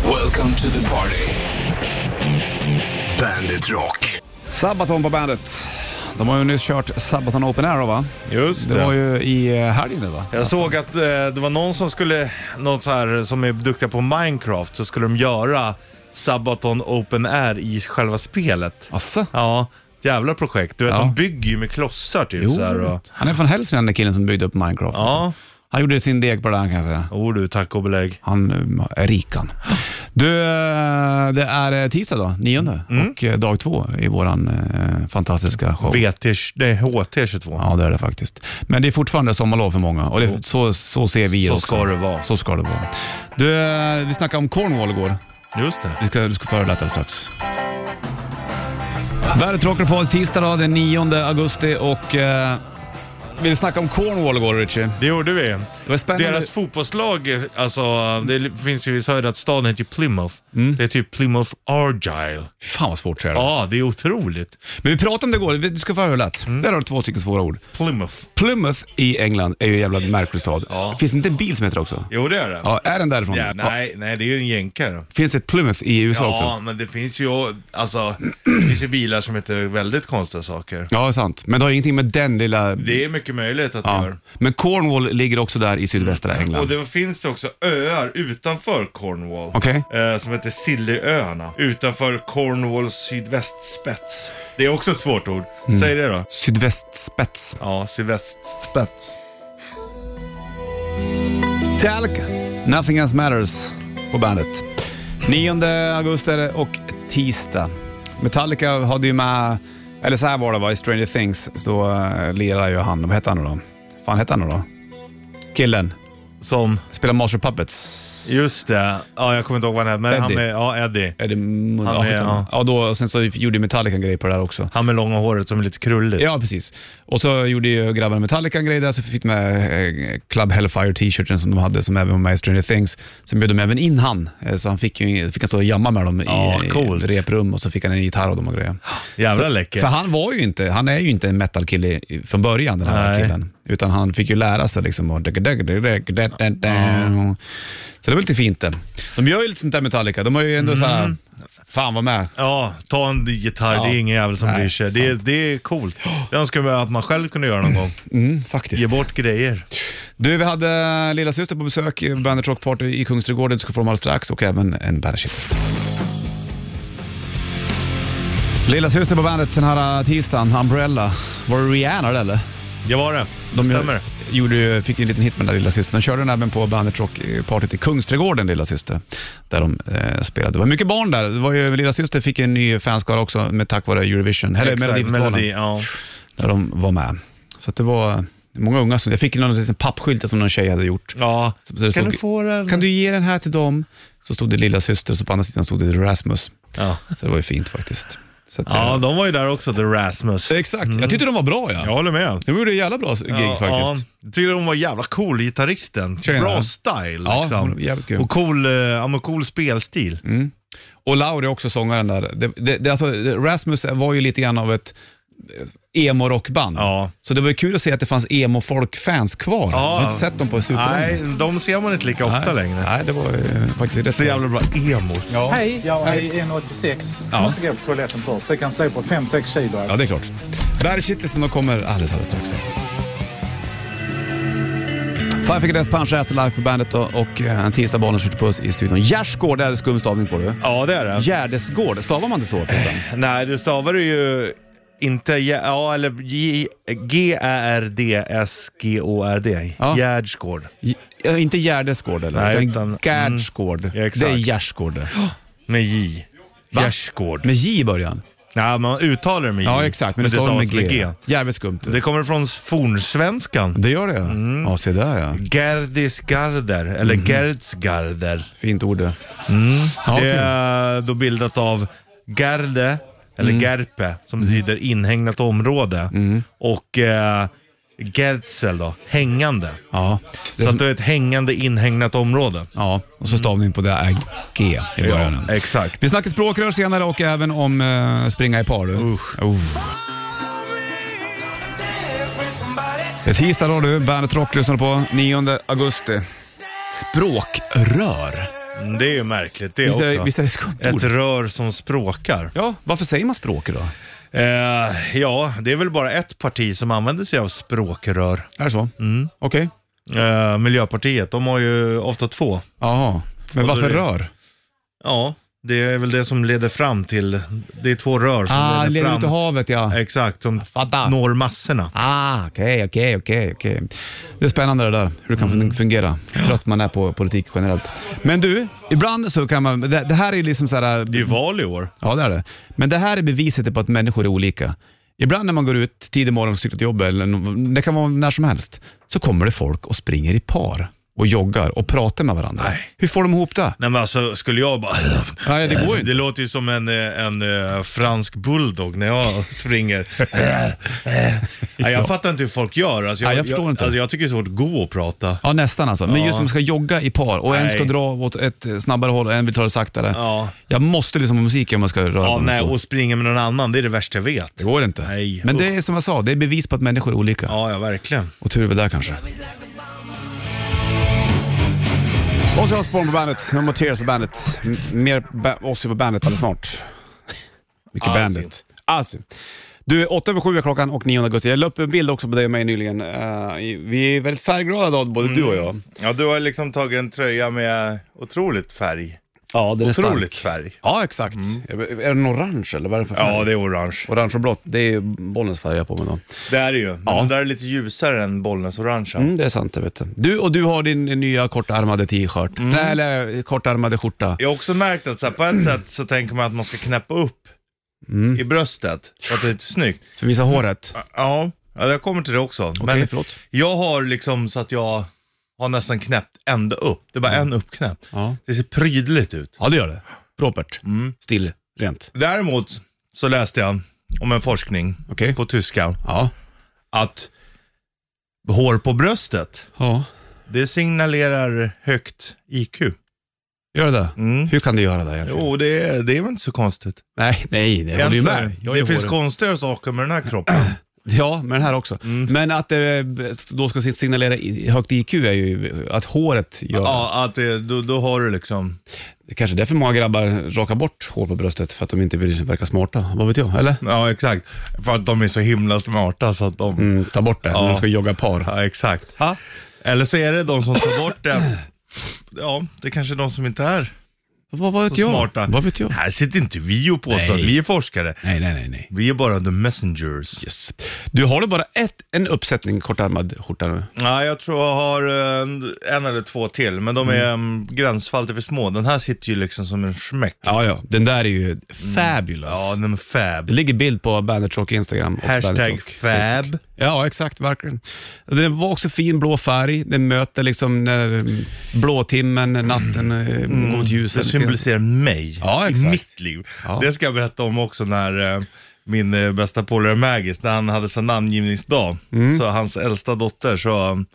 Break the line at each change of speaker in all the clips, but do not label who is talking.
Welcome to the party. Bandit Rock.
Sabaton på bandet. De har ju nyss kört Sabaton Open Air va?
Just
Det var ju i eh, helgen det va?
Jag såg att eh, det var någon som skulle, någon så här som är duktiga på Minecraft, så skulle de göra Sabaton Open Air i själva spelet.
Asså?
Ja, ett jävla projekt. Du vet,
Ja.
de bygger ju med klossar typ
Jo.
så här och,
Han är från Hälsingland den killen som byggde upp Minecraft.
Ja,
Han gjorde sin deg på det här kan jag säga.
oh, du tack och belägg.
Han eh, är rik han. Du, eh, det är eh, tisdag då, nionde,
Mm.
och eh, dag två i våran eh, fantastiska show.
VT, nej HT22.
Ja, det är det faktiskt. Men det är fortfarande sommarlov för många och det, så, så ser vi
Så
också.
ska det vara.
Så ska det vara. Du, eh, vi snackade om Cornwall igår.
Just det.
Vi ska, du ska få höra det alldeles strax. Värdet rockar på tisdag då, den 9 augusti och eh, vi snackade om Cornwall igår Richie.
Det gjorde vi.
Det var spännande.
Deras fotbollslag, eh, alltså det finns ju, vi sa ju att staden heter Plymouth.
Mm.
Det är typ Plymouth Argyle.
Fan vad svårt säger
Ja, det är otroligt.
Men vi pratade om det igår, du ska få höra hur det lät.
Mm.
Där har du två stycken svåra ord.
Plymouth.
Plymouth i England är ju en jävla märklig stad.
Ja.
Finns det inte en bil som heter det också?
Jo, det är det.
Ja, är den därifrån?
Ja, nej, nej, det är ju en jänkare.
Finns det ett Plymouth i USA
Ja,
också?
men det finns ju, alltså, det finns ju bilar som heter väldigt konstiga saker.
Ja, sant. Men det har ingenting med den lilla...
Det är mycket möjligt att det
Ja.
gör. Mm.
Men Cornwall ligger också där i sydvästra
Och
England.
det finns det också öar utanför Cornwall.
Okej.
Eh, som heter Sillyöarna. Utanför Cornwalls sydvästspets. Det är också ett svårt ord.
Mm.
Säg det då.
Sydvästspets.
Ja, sydvästspets.
Metallica. Nothing else matters på bandet. 9 augusti är det och tisdag. Metallica hade ju med, eller så här var det va, i Stranger Things, så eh, lirar ju han, vad hette han nu då? fan hette han nu då? Killen,
Som,
spelar Master of Puppets.
just det. Ja, jag kommer inte ihåg vad han heter, men han
Eddie.
med, ja, Eddie.
Är det,
Han
ja,
är-
ja.
ja.
ja då, och sen så gjorde ju Metallica en grej på det där också.
Han med långa håret som är lite krulligt.
Ja, precis. Och så gjorde ju grabbarna Metallica en grej där, så fick de med eh, Club Hellfire t-shirten som de hade, som även var med i Stranger Things. Sen bjöd de även in han, eh, så han fick, ju, fick han stå och jamma med dem
Ja,
i,
coolt.
i reprum och så fick han en gitarr och de och grejer.
Jävla
För
läcker.
han var ju inte, han är ju inte en metalkille i- från början, den här
Nej.
killen. Utan han fick ju lära sig liksom och... Så det var lite fint det. De gör ju lite sånt där Metallica, de har ju ändå så
Mm.
här, fan var med.
Ja, ta en gitarr.
Ja.
Det är ingen jävel som
Nej,
bryr sig. Det, det är coolt. Det önskar jag att man själv kunde göra någon gång.
Mm, faktiskt.
Ge bort grejer.
Du, vi hade lilla syster på besök i Bandit Rock Party i Kungsträdgården. Du ska få dem alldeles strax och även en bandagekista. Lilla syster på bandet den här äh, tisdagen, Umbrella. Var det Rihanna det eller?
Det var det. Det
gör-
stämmer.
Gjorde, ju- fick ju en liten hit med den där lilla systern. De körde den även på Bandit Rock äh, Partyt i Kungsträdgården, lilla syster. Där de eh, spelade. Det var mycket barn där. Det var ju, lilla syster fick en ny fanskara också med, tack vare Eurovision, eller Melodifestivalen
melodi, ja.
där de var med. Så att det var många unga som... Jag fick någon liten pappskylt som någon tjej hade gjort.
ja.
Så det
Kan
stod-
du få den?
Kan du ge den här till dem? Så stod det lilla syster och så på andra sidan stod det Rasmus.
Ja.
Så det var ju fint faktiskt. Så att,
ja,
eh,
de var ju där också, The Rasmus.
Exakt, jag tyckte de var bra ja.
Jag håller med.
De gjorde ett jävla bra gig
Ja,
faktiskt.
ja. Jag tycker hon var jävla cool, gitarristen.
Tjena.
Bra style
Ja, Mm. hon
liksom.
är jävligt grym.
och cool, eh, ja, men cool spelstil.
Och Lauri också sångaren där. Det, det, det, alltså, Rasmus var ju lite grann av ett eh, emo-rockband.
Ja.
Så det var ju kul att se att det fanns emo-folk-fans kvar. Jag har
Ja.
inte sett dem på superlänge.
Nej, de ser man inte lika ofta längre.
Nej, det var ju faktiskt rätt
Så jävla bra emos.
Ja.
Hej, jag är 1,86.
Ja.
Jag måste gå på toaletten först. Det kan slå på 5-6 kilo.
Ja, det är klart. Bergkittelsen, de kommer alldeles, alldeles strax. Five Finger Death Punch äter live på bandet och, och eh, en tisdag barnen skjuter puss i studion. Gärdsgård, det är det skum stavning på du.
Ja, det är det.
Gärdesgård, stavar man det så? förresten?
Nej, du stavar det ju inte, ja, ja eller J- G-Ä-R-D-S-G-O-R-D.
Ja.
Gärdsgård.
J- eh, inte Gärdesgård eller?
Nej,
utan
utan- mm.
Gärdsgård.
Ja,
det
exakt.
är Gärdsgård det.
Med J.
Va?
Gärdsgård.
Med J i början.
Nej, man uttalar Mm. det med J.
Ja, exakt. Men, det stavar med G. Jävligt skumt. Det,
Det Mm. kommer från fornsvenskan.
det gör det ja. Ja, se där ja.
Gerdisgarder, eller Gerdsgarder.
Fint ord det. Mhm. Ja,
Mm. Det
okej.
är då bildat av Gerde, eller
Mm.
Gerpe, som betyder inhägnat område. Och eh, Gerdsel då, hängande.
ja. Det
Så
är
att
som,
det är ett hängande inhägnat område.
ja, och så stavning på det är G i början.
Ja, exakt.
Vi snackar språkrör senare och även om eh, springa i par. Du.
Usch.
Uff. Det är tisdag då du, Bandet Rock lyssnar på 9 augusti. Språkrör.
Mm, Det är ju märkligt det
Visst är, det-
också.
visst är det
Ett
skontor?
rör som språkar.
Ja, varför säger man språk då?
Eh, ja, det är väl bara ett parti som använder sig av språkrör.
Är det så?
Mm.
Okej.
Eh, Miljöpartiet, de har ju ofta två.
Jaha. Men
Och då
varför
är det-
rör?
Ja, det är väl det som leder fram till, det är två rör som
Ah,
leder
leder
fram.
ut i havet ja.
Exakt, som
Fattar.
når massorna.
Ah, okej, okej, okej, okej. Det är spännande det där, hur det kan
Mm.
fun- fungera. Trött man är på politik generellt. Men du, ibland så kan man, det, det här är liksom så här...
Det är ju val i år.
Ja, det är det. Men det här är beviset på att människor är olika. Ibland när man går ut tidig morgon och cyklar till jobbet, eller no- det kan vara när som helst, så kommer det folk och springer i par och joggar och pratar med varandra.
Nej.
Hur får de ihop det?
Nej men alltså, skulle jag bara...
Nej, det går ju
Det
inte.
låter ju som en, eh, en eh, fransk bulldog när jag springer. Nej, jag fattar inte hur folk gör. Alltså, jag,
Eh, Nej, jag förstår inte.
Alltså, jag tycker det är svårt att gå och prata.
Ja, nästan alltså. Men just när man ska jogga i par och en
Nej.
ska dra åt ett eh, snabbare håll och en vill ta det saktare.
Ja.
Jag måste lyssna på musik om jag ska röra
Ja,
mig.
nej,
så.
och springa med någon annan, det är det värsta jag vet.
Det går inte.
Nej,
Men
usch.
det är som jag sa, det är bevis på att människor är olika.
Ja, ja verkligen.
Och tur är väl där kanske. Ozzy Osbourne på bandet, No More Tears på bandet. M- mer ba- Ozzy på bandet alldeles snart. Mycket
Ozzy.
bandet. Alltså. Du, 8 över 7 är klockan och 9 augusti. Jag la upp en bild också på dig och mig nyligen. Eh, i- vi är väldigt färgglada idag, både du och jag.
Ja, du har liksom tagit en tröja med otroligt färg.
Ja, den
Otroligt färg.
Ja, exakt. Är- Är den orange eller vad är det för färg?
Ja, det är orange.
Orange och blått, det är ju bollens färg jag har på mig då.
Det är det ju. Men
Ja.
den där är lite ljusare än Bollnäs orangea.
Mm, det är sant, det vet du. du. Och du har din nya kortärmade t-shirt. Nej, eller kortärmade skjorta.
Jag har också märkt att så här, på ett sätt så tänker man att man ska knäppa upp
Mm.
i bröstet. Så att det är lite snyggt.
För att visa håret.
Ja, ja, jag kommer till det också.
Okej,
Men
förlåt.
jag har liksom så att jag har nästan knäppt ända upp. Det är
Mm.
bara en uppknäppt.
Ja.
Det ser prydligt ut. Mm.
ja, det gör det. Propert. Still. Rent.
Däremot så läste jag om en forskning
Okej.
på tyska
Ja.
att hår på bröstet,
ja.
det signalerar högt IQ.
Gör det
Mm.
Hur kan du göra det egentligen?
Jo, det, är- det är väl inte så konstigt.
Nej, nej, det håller du ju
Egentligen.
med. Jag är
det finns
hårig.
konstigare saker med den här kroppen.
Ja, men den här också.
Mm.
Men att det då ska signalera i- högt IQ är ju att håret gör ja.
ja, att det, då, då har du liksom...
det. kanske är därför många grabbar rakar bort hår på bröstet, för att de inte vill verka smarta. Vad vet jag? Eller?
Ja, exakt. För att de är så himla smarta så att de...
Mm, ta bort det när
Ja.
de ska jogga par.
Ja, exakt.
Ja.
Eller så är det de som tar bort det. Ja, det kanske är de som inte är
Vad, vad vet
så
jag?
smarta.
Vad vet jag?
Här sitter inte vi och påstår
Nej.
att vi är forskare.
Nej, nej, nej. nej.
Vi är bara the messengers.
Yes. Du har du bara ett, en uppsättning kortärmad skjorta nu?
Ja, jag tror jag har eh, en, en eller två till, men de är mm. gränsfall till för små. Den här sitter ju liksom som en smäck.
Ja, Mm. ja. Den där är ju fabulous.
Ja, den är fab.
Det ligger bild på Bandit Rock Instagram. och Bandit
Hashtag
Rock Facebook.
fab.
Ja, exakt. Verkligen. Den var också fin blå färg. Den möter liksom när mm, blåtimmen, natten eh, går mot
Det
ljuset.
symboliserar mig
Ja,
i
exakt.
mitt liv.
Ja.
Det ska jag berätta om också när eh, min eh, bästa polare Magis, när han hade sin namngivningsdag,
Mm.
så hans äldsta dotter, så um,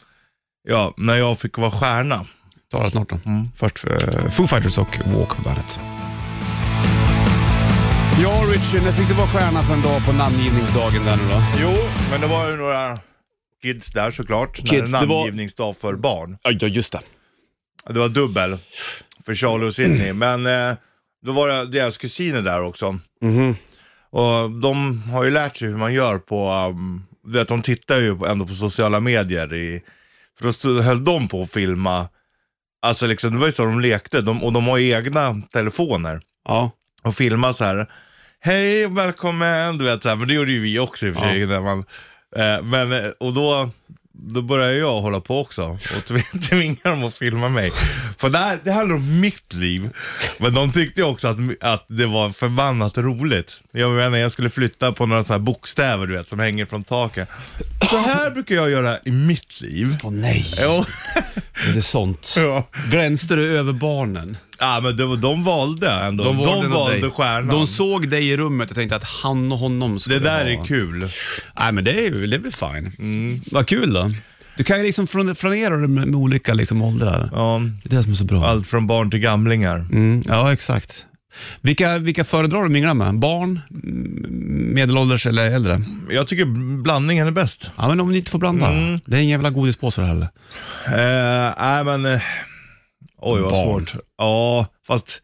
ja, när jag fick vara stjärna.
Tar det snart då. Först eh, Foo Fighters och Walk på Bandet. Ja, Richard, jag fick du vara stjärna för en dag på namngivningsdagen där nu då.
Jo, men det var ju några kids där såklart,
Kids,
när
det
det
var-
namngivningsdag för barn.
Ja, just det.
Det var dubbel för Charlie och Sydney, men eh, då var det deras kusiner där också. Och de har ju lärt sig hur man gör på, um, du vet, de tittar ju på- ändå på sociala medier. I, för då stod- höll de på att filma, alltså liksom, det var ju så de lekte. De, och de har ju egna telefoner
Ja.
och filma så här. Hej och välkommen, du vet så här, men det gjorde ju vi också i och för sig. När man, eh, men, eh, och då, då började jag hålla på också och tv- tvinga dem att filma mig. För det, här, det handlar om mitt liv. Men de tyckte ju också att, att det var förbannat roligt. Jag menar, jag skulle flytta på några så här bokstäver du vet, som hänger från taket. Så här brukar jag göra i mitt liv.
Åh nej,
Jo,
är det sånt?
ja.
Glänste du över barnen?
ja, men det, var- de valde ändå. De,
valde nog
valde
dig.
stjärnan.
De såg dig i rummet och tänkte att han och honom skulle
det där
ha.
är kul. Mm.
Nej, men det är ju det är väl fine. Vad kul då. Du kan ju liksom flan- flanera det med, med olika liksom åldrar.
Ja.
Det är det som är så bra.
Allt från barn till gamlingar.
Mm, ja, exakt. Vilka, vilka föredrar du att mingla med? Barn, m- medelålders eller äldre?
Jag tycker blandningen är bäst.
Ja,
Mm.
men om ni inte får blanda. Det är ingen jävla godispåse det heller.
Eh, Nej men eh, Oj vad
Barn.
svårt. Ja, fast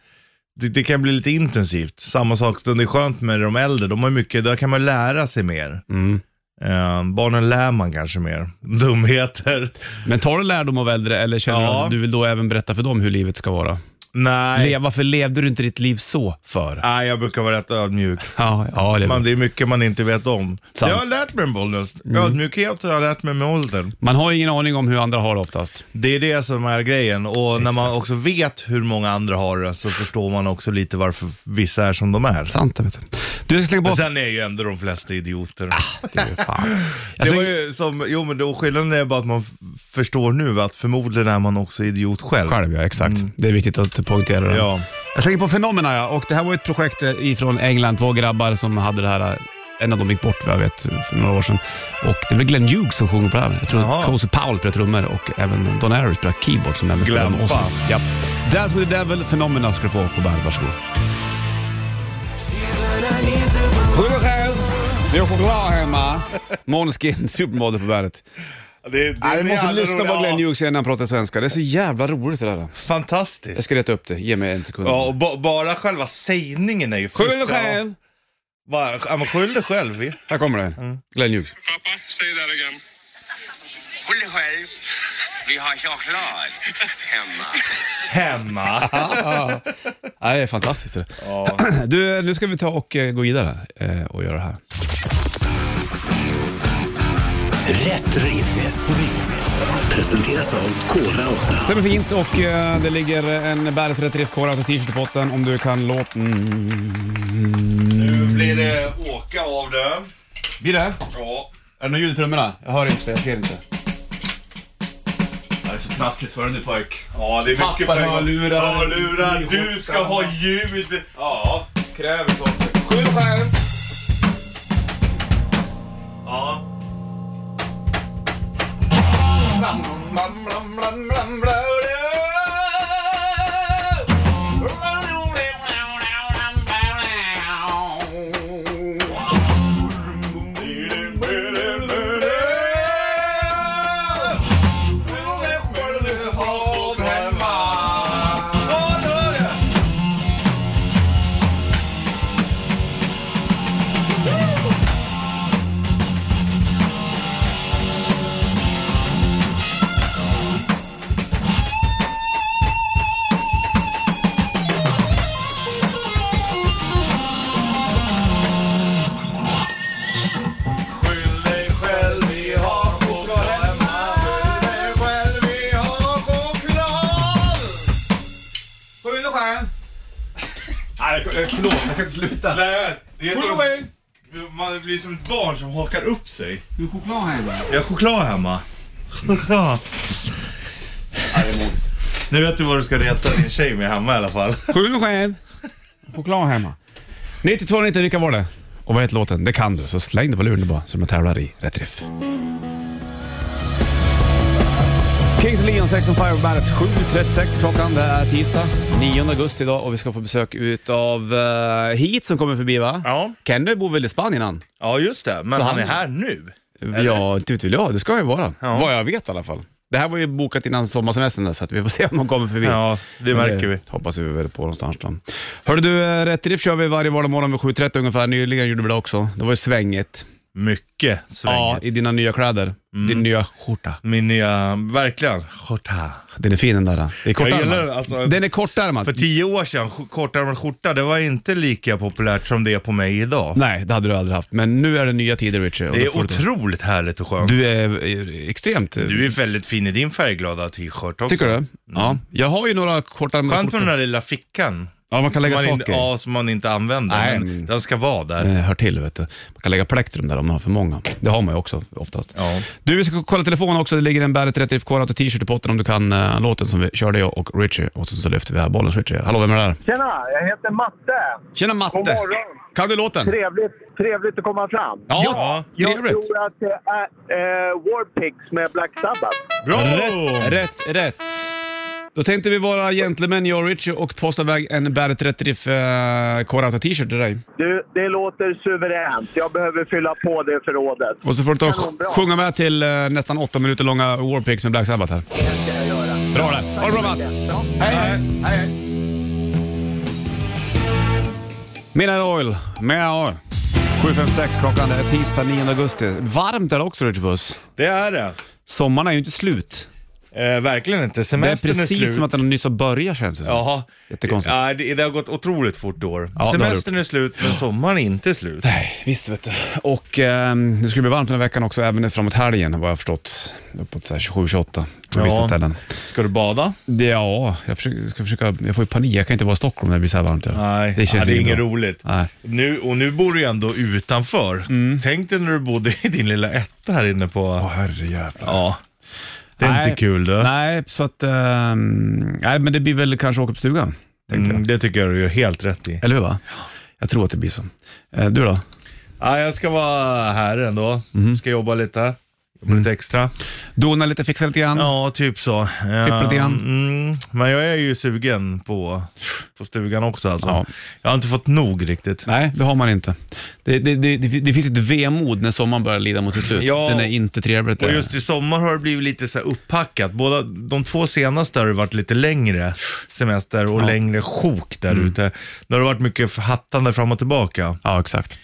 det, det kan bli lite intensivt. Samma sak, det är skönt med de äldre, de har mycket, där kan man lära sig mer.
Mm.
Eh, barnen lär man kanske mer. Dumheter.
Men tar du lärdom av äldre eller känner du
Ja.
att du vill då även berätta för dem hur livet ska vara?
Nej.
Le, varför levde du inte ditt liv så för?
Nej, jag brukar vara rätt ödmjuk.
Ja, ja det är
Man,
man,
det är mycket man inte vet om.
Sant. Mm.
Jag har lärt mig med åldern. Ödmjukhet har jag lärt mig med åldern.
man har ju ingen aning om hur andra har det oftast.
Det är det som är grejen. Och när man också vet hur många andra har det så förstår man också lite varför vissa är som de är.
Sant, vet du. Du, jag ska slänga
Men
på...
sen är ju ändå de flesta idioter.
Ah, Gud, fan. Jag
Det var
slänger...
ju som, jo men då skillnaden är bara att man f- förstår nu att förmodligen är man också idiot själv.
Själv, ja. Exakt. Det är viktigt att poängtera det.
Mm. Ja.
Jag slänger på Fenomena ja, och det här var ett projekt eh, ifrån England, två grabbar som hade det här, eh, en av dem gick bort vad jag vet för några år sedan. Och det var Glenn Hughes som sjunger på det här. Jag tror att
Jaha.
Cozy Powell spelade trummor och även Don Airey spelade keyboard som nämndes.
Glampa.
Och så- Ja. Dance with the Devil, Fenomena ska du få på bandet, varsågod. Skyll dig själv, vi har choklad hemma. Måneskin, supermodel på bandet.
Det, det,
Vi måste lyssna på Glenn Hughes innan han pratar svenska. Det är så jävla roligt det där. Jag
Fantastiskt.
ska rätta upp det, ge mig en sekund.
Ja, och ba- bara själva sägningen är ju
Skyll dig
fruktansvärt-
själv!
Bara, ja, men skyll dig själv.
Här kommer det. Glenn Hughes.
Pappa, säg där igen. Håll dig själv. Vi har choklad hemma.
Hemma.
Ja, det är fantastiskt. det. Du, nu ska vi ta och eh, gå vidare eh, och göra det här.
Rätt riff. Presenteras av Kora 8.
Stämmer fint och eh, det ligger en Bär för ett riff kvar och t-shirt i botten om du kan Mm. låten.
Nu blir det åka av det.
Blir det?
Ja.
Är det något ljud i trummorna? Jag hör inte, jag ser inte. Det är så trassligt för dig nu pojk.
Ja, det är mycket
Tappar
pengar.
hörlurar.
Hörlurar.
Skjortan.
Du ska ha ljud.
Ja, kräver sånt. Skyll själv!
Ja. Skyll dig själv, vi har choklad hemma. Skyll dig själv, vi har choklad.
Skyll själv! Nej, förlåt, jag kan inte sluta.
Nej, det är
Skyll
som,
själv!
man blir som ett barn som hakar upp sig.
Du är choklad här va?
Jag har choklad hemma. Choklad. Nu vet du vad du ska reta din tjej med hemma i alla fall.
Sju sked. Choklad hemma. 9290, vilka var det? Och vad heter låten? Det kan du, så släng det på luren bara så de tävlar i rätt riff. Kings of Leon, Sex on Fire på bandet. 7.36 klockan, det är tisdag 9 augusti idag och vi ska få besök utav uh, Heat som kommer förbi va?
Ja.
Kenny bor väl i Spanien han?
Ja just det, men
Så
han
han-
är här nu.
Ja, inte vet väl jag. Det ska han ju vara.
Ja.
Vad jag vet i alla fall. Det här var ju bokat innan sommarsemestern där, så att vi får se om de kommer förbi.
Ja, det
Men
märker vi.
hoppas vi väl på någonstans då. Hörde du, eh, Rätt Riff kör vi varje vardagsmorgon vid 7.30 ungefär. Nyligen gjorde vi det också. Det var ju svänget.
Mycket sväng.
Ja, i dina nya kläder.
Mm.
Din nya skjorta.
Min nya, verkligen, skjorta.
Den är fin den där. Det är
gillar
kortärmad.
den, alltså.
den är kortärmad.
För tio år sedan, sk- kortärmad skjorta, det var inte lika populärt som det är på mig idag.
Nej, det hade du aldrig haft. Men nu är det nya tider Richie. och
Det
då
är
får du-
otroligt härligt och skönt. Du,
Du är eh, extremt... eh,
är väldigt fin i din färgglada t-shirt också.
Tycker du? Ja. Jag har ju några kortärmade
Skönt med den
skjortor.
där lilla fickan.
Ja, man kan lägga
som man
saker i.
in, Ja, som man inte använder.
Nej.
Men den ska vara där.
eh, hör till. Vet du. Man kan lägga plektrum där om man har för många. Det har man ju också oftast.
Ja.
Du, vi ska kolla telefonen också. Det ligger en Bandet 30 FK och t-shirt i potten om du kan eh, låten som vi körde jag och Richie. Och så, så lyfter vi här bollen. Richie, hallå vem är det där?
Tjena, jag heter Matte.
Tjena Matte!
God morgon.
Kan du låten?
Trevligt, trevligt att komma fram.
Ja,
Jag
trevligt.
tror att det är äh, Warpigs med Black Sabbath.
Bra!
Rätt, rätt. Då tänkte vi vara gentlemän jag och Richie och posta iväg en Bandet 30 Riff eh, Core t-shirt till dig.
Du, det låter suveränt. Jag behöver fylla på det förrådet.
Och så får du ta och
Kanonbra.
sjunga med till eh, nästan åtta minuter långa Warpigs med Black Sabbath här.
Det ska jag göra.
Bra det. Ha det bra Mats. Hej, hej. Midnight Oil, med Oil. 7.56 klockan, det är tisdag 9 augusti. Varmt är det också Richard Puss.
Det är det.
Sommaren är ju inte slut.
Eh, verkligen inte.
Det är
Semestern är,
precis
slut.
som att den nyss har börjat känns det som.
Jaha.
Jättekonstigt.
Ja, det, det har gått otroligt fort i år.
det har
Semestern är slut, men sommaren är inte slut.
Nej, visst vet du. Och ehm, det skulle bli varmt den här veckan också, även framåt helgen vad jag har förstått. Uppåt så här 27-28 på vissa ställen.
Ska du bada?
Det, ja, jag, försöker, ska försöka, jag får ju panik. Jag kan inte vara i Stockholm när det blir så här varmt. här.
Nej, det, ja, det är
inte
inget
bra.
roligt.
Nej. Mm.
Nu, och nu bor du ju ändå utanför. Tänk dig när du bodde i din lilla etta här inne på...
Åh herrejävlar.
Ja. Det är inte kul du.
Nej, så att... ehm, nej, men det blir väl kanske åka på stugan. Tänkte
Mm,
jag.
det tycker jag du gör helt rätt i.
Eller hur va? Jag tror att det blir så. Eh, du då?
Ja, jag ska vara här ändå.
Mm.
Ska jobba lite. Jobba lite extra.
Dona lite, fixa lite grann.
Ja, typ så.
Trippla Mm. lite grann.
Mm, men jag är ju sugen på, på stugan också alltså.
Ja.
Jag har inte fått nog riktigt.
Nej, det har man inte. Det, det, det, det, det finns ett vemod när sommaren börjar lida mot sitt slut.
Ja.
Den är inte trevligt.
Och
det.
just i sommar har det blivit lite så här upphackat. Båda, de två senaste har det varit lite längre semester och längre sjok där
Mm.
ute. Det har varit mycket hattande fram och tillbaka.
Ja, exakt.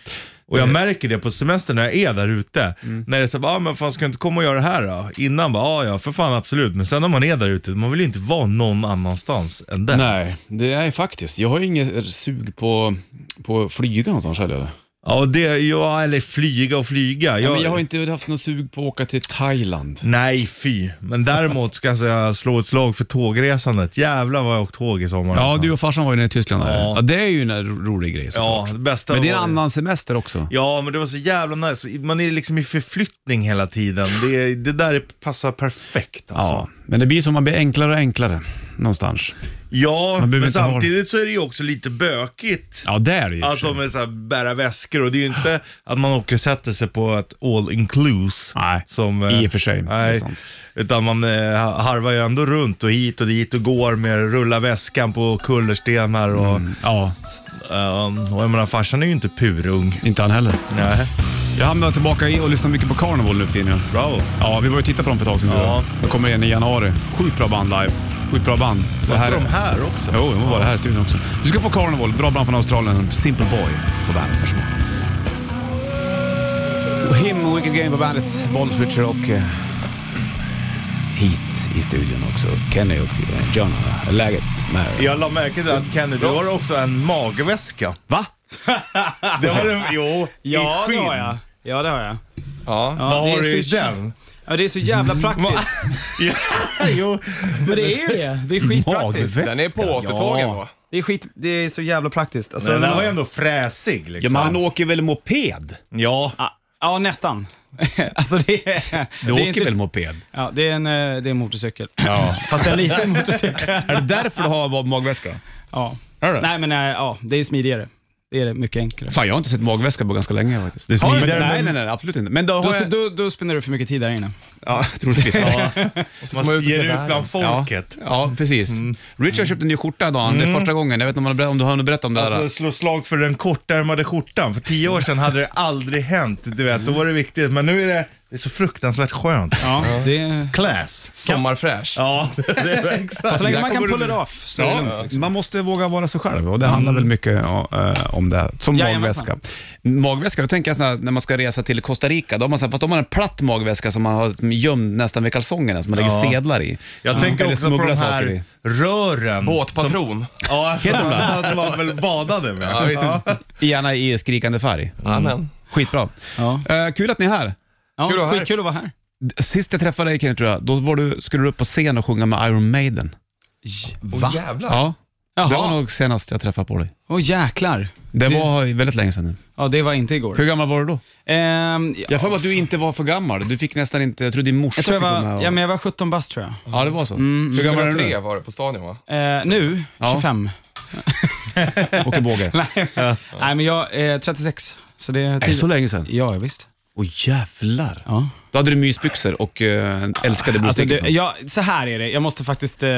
Och
Eh.
jag märker det på semestern när jag är där ute.
Mm.
När det är såhär, ah, men fan ska du inte komma och göra det här då? Innan bara, ah, ja för fan absolut. Men sen när man är där ute, man vill ju inte vara någon annanstans än där.
Nej, det är faktiskt. Jag har ju inget sug på, på att flyga någonstans heller.
Ja, och det, ja, eller flyga och flyga.
Ja, men jag har inte haft något sug på att åka till Thailand.
Nej, fy. Men däremot ska jag säga, slå ett slag för tågresandet. Jävlar vad jag har åkt tåg i sommar.
Ja,
alltså.
du och farsan var ju nere i Tyskland. där.
Ja.
Ja, det är ju en rolig grej
Ja,
såklart.
det bästa
Men det är en
var-
annan semester också.
Ja, men det var så jävla nice. Man är liksom i förflyttning hela tiden. Det, det där passar perfekt alltså.
Ja, men det blir som man blir enklare och enklare någonstans.
Ja,
Man behöver
men
inte ha-
samtidigt så är det ju också lite bökigt.
Ja, det är det ju.
Alltså med så här, bära väskor och det är ju inte att man åker och sätter sig på ett all incluse.
Nej, i och för sig. Det är
Nej,
sant.
utan man eh, harvar ju ändå runt och hit och dit och går med rulla väskan på kullerstenar och,
Ja,
ehm, och jag menar farsan är ju inte purung.
inte han heller.
Nej,
Jag hamnar tillbaka i och lyssnar mycket på Carnival nu för tiden.
bravo.
Ja, vi var ju och tittade på dem för ett tag sedan.
Ja.
De kommer igen i januari. Sjukt bra band live. Sjukt bra band. Det
Var
här-
här... de här också?
Jo, de var bara här i studion också. Du ska få Carnival, bra band från Australien. Simple Boy på bandet. Varsågod. Och Him, Wicked Game på bandet. Bollswitcher och eh, Heat i studion också. Kenny och eh, John. Läget med...
Jag la märke till att Kenny, du har också en magväska.
Va?
Det var den, jo,
Ja,
i
det
skinn.
har jag. Ja, det har jag.
Ja, vad
det
har
är
du i
så-
den?
Ja, det är så jävla praktiskt.
Ja, jo.
Men det är ju det. Det är skitpraktiskt.
Magväska.
Den är på återtagen
Ja.
va?
Det är, skit, det är så jävla praktiskt. Alltså,
Den där var ju ändå fräsig
Ja,
liksom.
men han åker väl moped?
ja.
ja, ja, nästan. alltså det är...
Du
det
åker
är inte-
väl moped?
Ja, det är en, eh, det är en motorcykel.
Ja.
Fast en liten motorcykel.
Är det därför du har magväska?
Ja.
Är det?
Nej, men eh, ja, det är smidigare. Det är det, mycket enklare.
Fan, jag har inte sett magväska på ganska länge faktiskt.
Det är smidigare
Men-
än-
nej, nej, nej, absolut inte. Men då har
Då,
jag...
då, då spenderar du för mycket tid där inne.
Ja, troligtvis. Ja,
Man ger ut bland folket.
Ja, ja precis. Richard köpte en ny skjorta idag. Det är första gången. Jag vet inte om, han har ber- om du har berättat om det här.
Alltså slå slag för den kortärmade skjortan. För tio år sedan hade det aldrig hänt, du vet. Då var det viktigt. Men nu är det, det är så fruktansvärt skönt.
Ja, det,
Alltså, Class.
Sommarfräsch.
Ja, det är exakt.
så länge
där
man kan
kommer du-
pull it off så är det lugnt.
Ja,
Liksom.
man måste våga vara sig själv och det handlar väl mycket ja, eh, om det. Som
Jajamensan.
magväska. Magväska, då tänker jag sådär, när man ska resa till Costa Rica, då har man såhär, fast då har man en platt magväska som man har gömd nästan vid kalsongerna, som man lägger sedlar i.
Jag tänker
Eller
också på
smugglar
de
saker i.
här rören.
Båtpatron.
Ja,
Heter de det?
som man väl badade med.
Ja, visst.
Gärna i skrikande färg.
Amen.
Skitbra.
Ja.
Eh, kul att ni är här.
Ja,
Kul att vara här.
skitkul att vara här.
Sist jag träffade dig Kenny, tror jag, då var du, skulle du upp på scen och sjunga med Iron Maiden.
Åh jävlar.
Ja, det var
Jaha,
nog senast jag träffade på dig.
åh jäklar.
Det var ju väldigt länge sedan nu.
Ja, det var inte igår.
Hur gammal var du då?
Ehm, ja,
Jag får att du inte var för gammal. Du fick nästan inte, jag tror din morsa
jag tror jag
fick vara
var,
med.
ja, men Mm. jag var 17 bast tror jag.
ja, det var så. Hur gammal är du
2003
nu?
var det på stadion va?
Eh, nu,
Ja.
25.
Åke Båge.
Nej, men jag är 36. Så det är
Är det så
tidigt.
länge sedan?
Ja, visst.
Åh jävlar.
Ja.
Då hade du mysbyxor och eh, älskade Bruce
Alltså, det,
Dickinson.
jag, så här är det, jag måste faktiskt eh,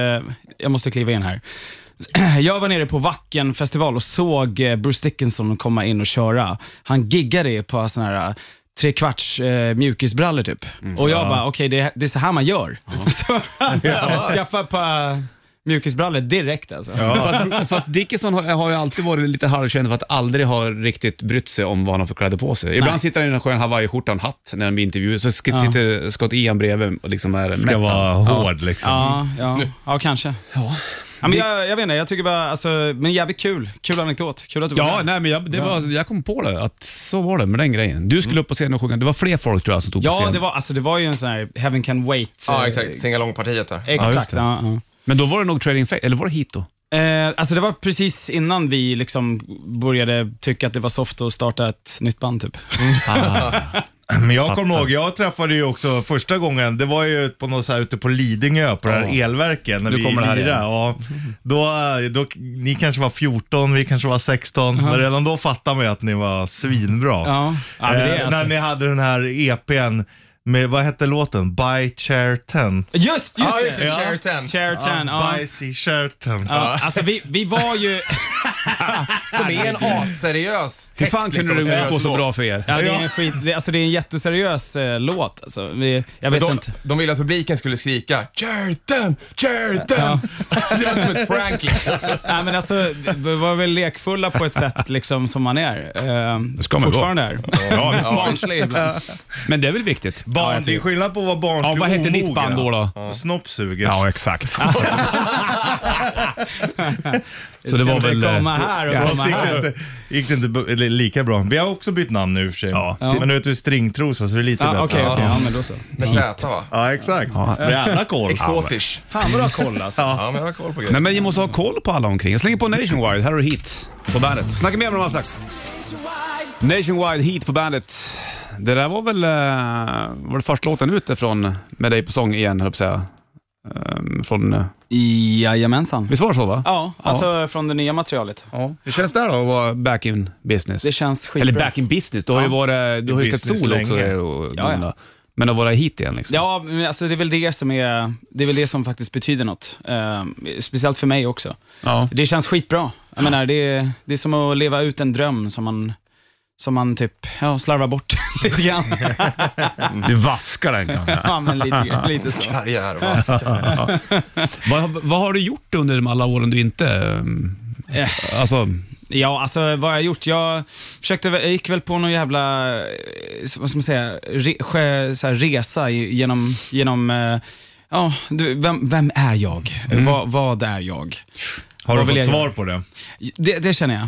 jag måste kliva in här. Jag var nere på Wacken festival och såg eh, Bruce Dickinson komma in och köra. Han giggade på sån här eh, trekvarts eh, mjukisbrallor typ.
Mm.
Och jag bara, okej det, det är så här man gör. Så, Skaffa ett par mjukisbrallor direkt alltså.
Fast, fast Dickinson har, har ju alltid varit lite halvkänd för att aldrig ha riktigt brytt sig om vad han har för kläder på sig. Ibland sitter han i en skön hawaiiskjorta och en hatt när han blir intervjuad, så sk- sitter Scott Ian bredvid och liksom är
Ska
mätt.
vara hård liksom.
Ja, ja, ja kanske. Ja. men jag, jag vet inte, jag tycker bara, alltså, men jävligt kul. Kul anekdot. Kul att du var
Ja,
med.
nej, men jag, det var, jag kom på det, att så var det med den grejen. Du skulle upp på scenen och sjunga. Det var fler folk tror jag som stod på
Ja,
scenen.
det var, alltså, det var ju en sån här Heaven Can Wait.
Ja,
eh,
exakt. Singalong-partiet där.
Ja, just
Exakt,
det.
ja, ja.
Men då var det nog Trading Faith, eller var det hit då?
Eh, alltså det var precis innan vi liksom började tycka att det var soft att starta ett nytt band typ.
Men jag kommer ihåg, jag träffade ju också första gången, det var ju på något så här ute på Lidingö på det här elverket när
Nu
vi
kommer det här
lirade. Ja, då, då, ni kanske var 14, vi kanske var 16, men redan då fattade man ju att ni var svinbra.
Ja. Ja, men det är
eh,
alltså-
När ni hade den här EPn med, vad hette låten? By Chair 10.
Just, just
Ja, just
det!
det.
Ja.
Share 10.
Chair Tan, ja.
By C. Chair 10.
ja. Alltså vi, vi var ju...
Som är en asseriös text.
Hur fan kunde
liksom,
det gå
seriös
på så
låt.
bra för er?
Ja, det, är en skit, det, alltså, det är en jätteseriös eh, låt. Alltså, vi, jag vet
De,
inte.
de ville att publiken skulle skrika “Jerten! Jerten!” Det var som ett prank liksom.
Nej, men alltså, vi var väl lekfulla på ett sätt liksom, som man är. Eh, det
ska man ju
fortfarande är.
Ja, visst.
Barnslig ibland.
Men det är väl viktigt?
Barn, det är skillnad på att vara barnslig
Ja, vad hette ditt band
omogen.
då? då?
Snoppsugers.
Ja, exakt. så det var
Ska
väl...
vi
eh,
komma här och komma
Fast gick det
här.
inte, gick det inte b- eller lika bra. Vi har också bytt namn nu i och för sig.
Ja.
Men nu heter vi Stringtrosa så det är lite
Ja,
bättre.
Okej, okej. Ja, men då så.
Med Z va?
Ja, exakt. Jävla koll.
Exotisch.
Fan vad du har koll alltså.
Ja, men jag har koll på grejer.
Nej, men ni måste ha koll på alla omkring. Jag slänger på Nationwide, här har du Heat på bandet. Snacka mer om dem alldeles strax. Nationwide, Heat på bandet. Det där var väl eh, var det första låten ut ifrån med dig på sång igen, höll jag på att säga. Ehm, från, eh,
Jajamensan.
visst var det så va?
Ja, alltså från det nya materialet.
Ja. Hur känns det då att vara back in business?
Det känns skitbra.
Eller back in business, du har ju, varit, du har ju släppt
Business
solo också.
länge.
Och,
Ja, ja.
ja. Men att vara hit igen liksom.
Ja, men alltså det är väl det som, är, det är väl det som faktiskt betyder något. Eh, speciellt för mig också.
Ja.
Det känns skitbra. Jag menar, det, är, det är som att leva ut en dröm som man, som man typ ja, slarvar bort lite grann.
Du vaskar den kanske.
ja, men lite, lite så.
Karriär, vass.
vad, vad har du gjort under de alla åren du inte... ehm, Alltså,
Ja, alltså vad har jag gjort? Jag, försökte, väl- jag gick väl på någon jävla, eh, vad ska man säga, re, sjö, så här, resa i- genom, genom eh, ja, du, vem, vem är jag? Vad, vad är jag?
Har du
Vad vill
fått
jag
svar
göra?
på det?
Det, det känner jag.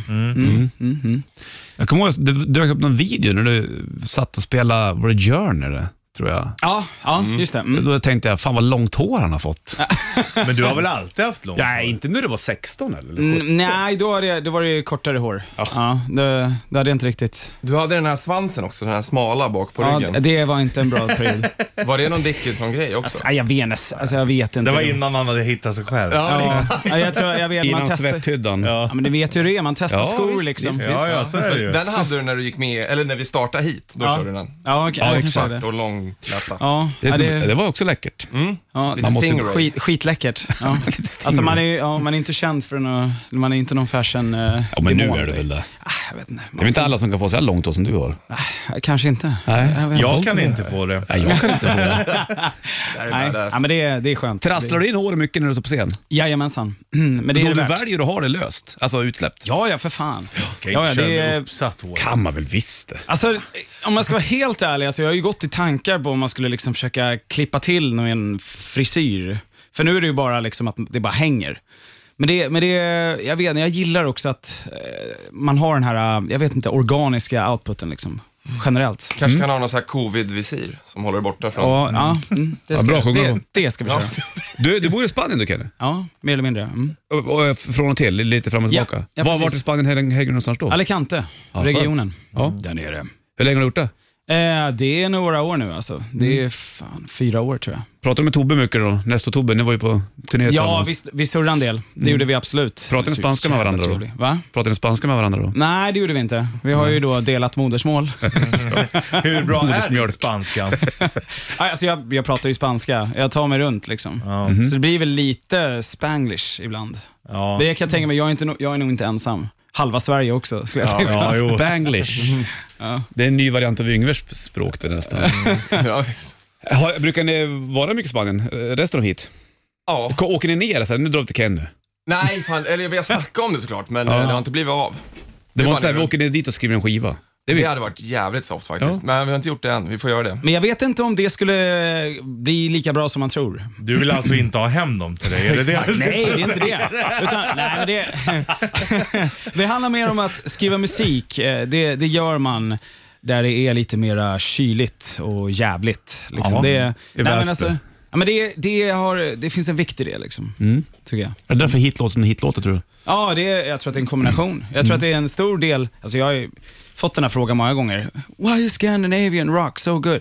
jag kommer ihåg att det dök upp någon video när du satt och spelade, var det Journey det, tror jag?
Ja, ja just det. Mm.
Då tänkte jag, fan vad långt hår han har fått.
alltså.
Men du har väl alltid haft långt?
Nej, inte när du var 16 eller?
Mm, nej, då var det, då var det ju kortare hår. Ja. det, det hade jag inte riktigt.
Du hade den här svansen också, den här smala bak på
Ja,
ryggen.
det var inte en bra period.
Var det någon Dickinson-grej också?
Nej, jag vet inte. Alltså, jag vet inte.
Det var innan han hade hittat sig själv.
Ja,
Ja,
liksom.
ja, jag tror, jag vet, man
Innan
testar.
svetthyddan.
Ja.
Ja, men du vet ju hur det är. Man testar
Ja,
skor
visst,
liksom.
visst, visst.
Ja, ja, så är det ju.
Den hade du när du gick med, eller när vi startade hit. Då
Ja.
körde du den.
Ja, okej,
Ja,
jag kan
exakt.
säga det.
Och långlätta.
Ja,
Det,
ja, det, Mm.
var också läckert.
ja,
Lite
måste-
stingray.
skit, skitläckert. Ja. Alltså man är, ju- ja, man är inte känd för att, man är inte någon fashion eh,
Ja, men nu
demon,
är det väl det.
Ah, jag vet inte.
Det är väl inte alla som kan få så här långt hår som du har?
Eh, Kanske inte.
Nej.
vet inte.
Jag kan inte få det.
Nej, jag kan inte få det.
Det här är
Nej,
badass.
ja, men det, är- det är skönt.
Trasslar du in håret mycket när du står på scen?
Jajamensan. Men det är
Då
det
du
värt.
väljer att ha det löst, alltså utsläppt?
Ja, ja, för fan.
Jag kan
Ja,
inte köra
ja, det
med
är,
uppsatt hår.
kan man väl visst det.
alltså, om man ska vara helt ärlig, alltså, jag har ju gått i tankar på om man skulle liksom försöka klippa till någon frisyr. För nu är det ju bara liksom att det bara hänger. Men det, men det, jag vet inte, jag gillar också att eh, man har den här, eh, jag vet inte, organiska outputen liksom, generellt.
Kanske kan ha någon sån här covid-visir som håller dig borta från...
Och, ja, mm, det, ska,
bra, sjunga
det,
då.
det ska vi
Ja.
köra.
Du, du bor i Spanien du Kenny?
Ja, mer eller mindre. Mm.
Och, och, från och till, lite fram och
Ja,
tillbaka.
ja,
var,
precis.
vart i Spanien hänger hänger du någonstans då?
Alicante, regionen.
Ja.
Där nere.
Hur länge har du gjort det?
Eh, det är några år nu alltså. Det
Mm.
är fan fyra år tror jag.
Pratar du med Tobbe mycket då? Nästa Tobbe, ni var ju på turné
Ja,
tillsammans. Mm.
visst, vi surrade en del. Det gjorde vi absolut.
Pratar ni spanska med varandra då?
Jävla trevlig. Va?
Pratar ni spanska med varandra då?
Nej, det gjorde vi inte. Vi har ju då delat modersmål.
Hur bra är din
Modersmjölk.
spanska?
Nej, alltså jag, jag pratar ju spanska. Jag tar mig runt liksom.
Mhm.
Så det blir väl lite spanglish ibland.
Ja.
Det kan jag tänka mig. Jag är, inte, no- jag är nog inte ensam. halva Sverige också, skulle jag tippa.
Ja, jo.
Banglish. Det är en ny variant av Yngves språk det nästan.
Ja, visst.
Har, brukar ni vara mycket i Spanien? Eh, Resten av hit?
ja.
K- Åker ni ner så här, nu drar vi till Ken nu?
Nej, fan, eller vi har snackat om det såklart, men eh, det har inte blivit av.
Det
är
var
bara
inte så här,
ner.
vi åker ner dit och skriver en skiva. Det
Det
vi.
hade varit jävligt soft faktiskt, men vi har inte gjort det än. Vi får göra det.
Men jag vet inte om det skulle bli lika bra som man tror.
Du vill alltså inte ha hem dem till dig? Är det det du säger?
Nej, det är inte det. Utan, nej, men det, det handlar mer om att skriva musik. Eh, Det, det gör man där det är lite mera kyligt och jävligt. Liksom.
Ja,
det, alltså,
i Väsby.
ja, men det, det, har, det finns en vikt i det, liksom, tycker jag.
Är det därför hitlåt som hitlåter tror du?
Ja, det är, jag tror att det är en kombination. Jag tror att det är en stor del. Alltså jag har ju fått den här frågan många gånger. Why is Scandinavian rock so good?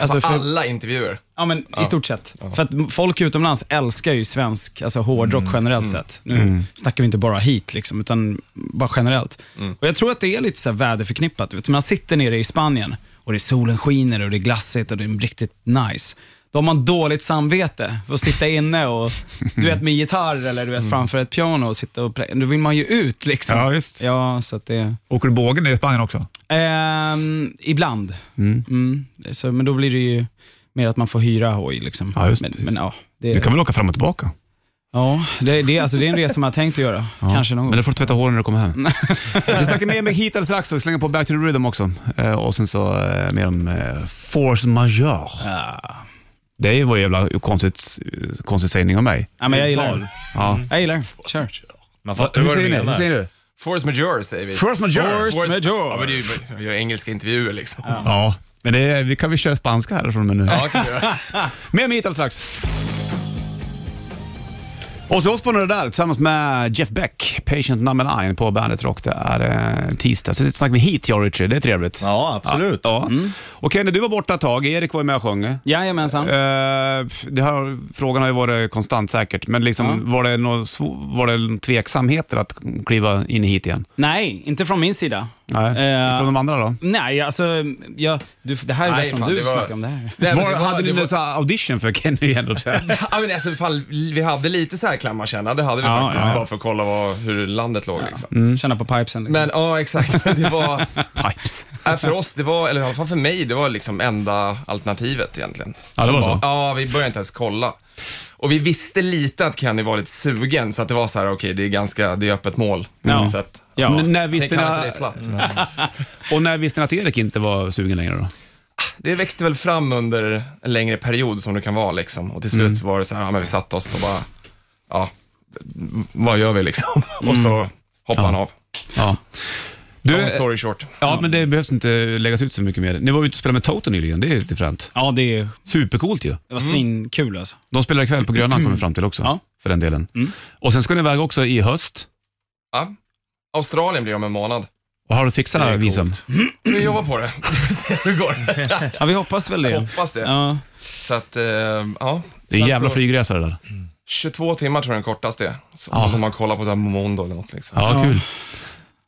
Alltså
På
för,
alla intervjuer.
ja, men I stort sett. För att m- folk utomlands älskar ju svensk alltså hårdrock generellt sett. Nu snackar vi inte bara hit, liksom, utan bara generellt. Och Jag tror att det är lite så här väderförknippat. Vet du, Man sitter nere i Spanien och det är solen skiner och det är glassigt och det är riktigt nice. Då har man dåligt samvete för att sitta inne och, du vet, med gitarr eller du vet, framför ett piano och sitta och play. Då vill man ju ut liksom.
Ja, just.
Mm. Ja, så att det...
Åker du bågen ner i Spanien också?
Ehm, ibland. Mm. Så, men då blir det ju mer att man får hyra hoj. Liksom.
Ja, just det,
men,
precis.
men ja, det,
Du kan väl åka fram och tillbaka?
ja det, det, alltså, det är en resa man har tänkt att göra. Kanske någon
Men
gång.
då får du tvätta håren när du kommer hem. vi snackar mer med Heat alldeles strax och slänger på Back to the Rhythm också. Eh, och sen så eh, mer om eh, Force Majeure. Det var ju jävla konstigt, konstigt sägning av mig.
Ja, men jag gillar det.
Ja.
Jag gillar det. Kör.
Man fattar
Hur
vad
säger
du
ni? Hur
menar.
säger du?
Force majeure säger vi.
Force majeure.
Force majeure.
Ja, men det är ju, jag gör engelska intervjuer liksom. Ja,
Ja, men det, vi kan vi köra spanska härifrån och med nu.
kan vi göra.
Mer med hit alldeles strax. Och så oss på det där tillsammans med Jeff Beck, Patient number 9 på Bandet Rock. Det är eh, tisdag. Så det är ett snack med hit, jag och Richard. Det är trevligt.
Ja, absolut. Mm.
Ja. Och Kenny, du var borta ett tag. Erik var ju med och sjöng.
Jajamensan.
Eh, det här, frågan har ju varit konstant säkert, men liksom, var, det någon, sv- var det någon tveksamheter att kliva in hit igen?
Nej, inte från min sida.
Nej.
Eh,
Från de andra då?
Nej, alltså, jag, du, det här är
Nej,
bättre om
fan,
du
det var-
snackar om det här.
Nej, men
var,
det var-
hade ni
det
någon
var-
sån här audition för Kenny igen? då?
Ja, men alltså, fall, vi hade lite så här klammarkänna, det hade vi
Ja,
faktiskt,
ja.
bara för att kolla vad, hur landet låg liksom.
Mm.
Känna på pipesen. Liksom.
Men ja, exakt. Men Det var,
Pipes.
äh, för oss, det var, eller i alla fall för mig, det var liksom enda alternativet egentligen.
Ja, det
Som
var så.
Ja, vi började inte ens kolla. Och vi visste lite att Kenny var lite sugen, så att det var så här, okej, det är ganska, det är öppet mål.
Ja.
Så att,
Ja.
N- när
Sen
visste
kan inte
ni, Mm.
det slatt.
och när visste ni att Erik inte var sugen längre då?
Det växte väl fram under en längre period som det kan vara liksom. Och till slut
Mm.
så var det så här, ja men vi satte oss och bara, ja, vad gör vi liksom? Och så hoppade han av.
Mm. Ja.
Long
Du,
story short.
ja, men det behövs inte läggas ut så mycket mer. Ni var ute och spelade med Toto nyligen, det är lite fränt.
Ja, det, är-
Supercoolt ju.
det
Mm.
var svinkul alltså.
De spelar ikväll på Grönan kommer vi fram till också,
Ja.
för den delen.
Mm.
Och sen ska ni iväg också i höst.
Ja. Australien blir om en månad.
Och har du fixat
Det är
alla visum?
Vi jobbar på det. Vi ser hur det går.
Ja, vi hoppas väl det.
Hoppas det.
Ja.
Så att, eh, ja.
Det är en
Sen
jävla
så-
flygresa det där.
22 timmar tror jag den kortaste är. Så
Ja.
Om man kollar på så här Momondo eller något liksom.
Ja, kul.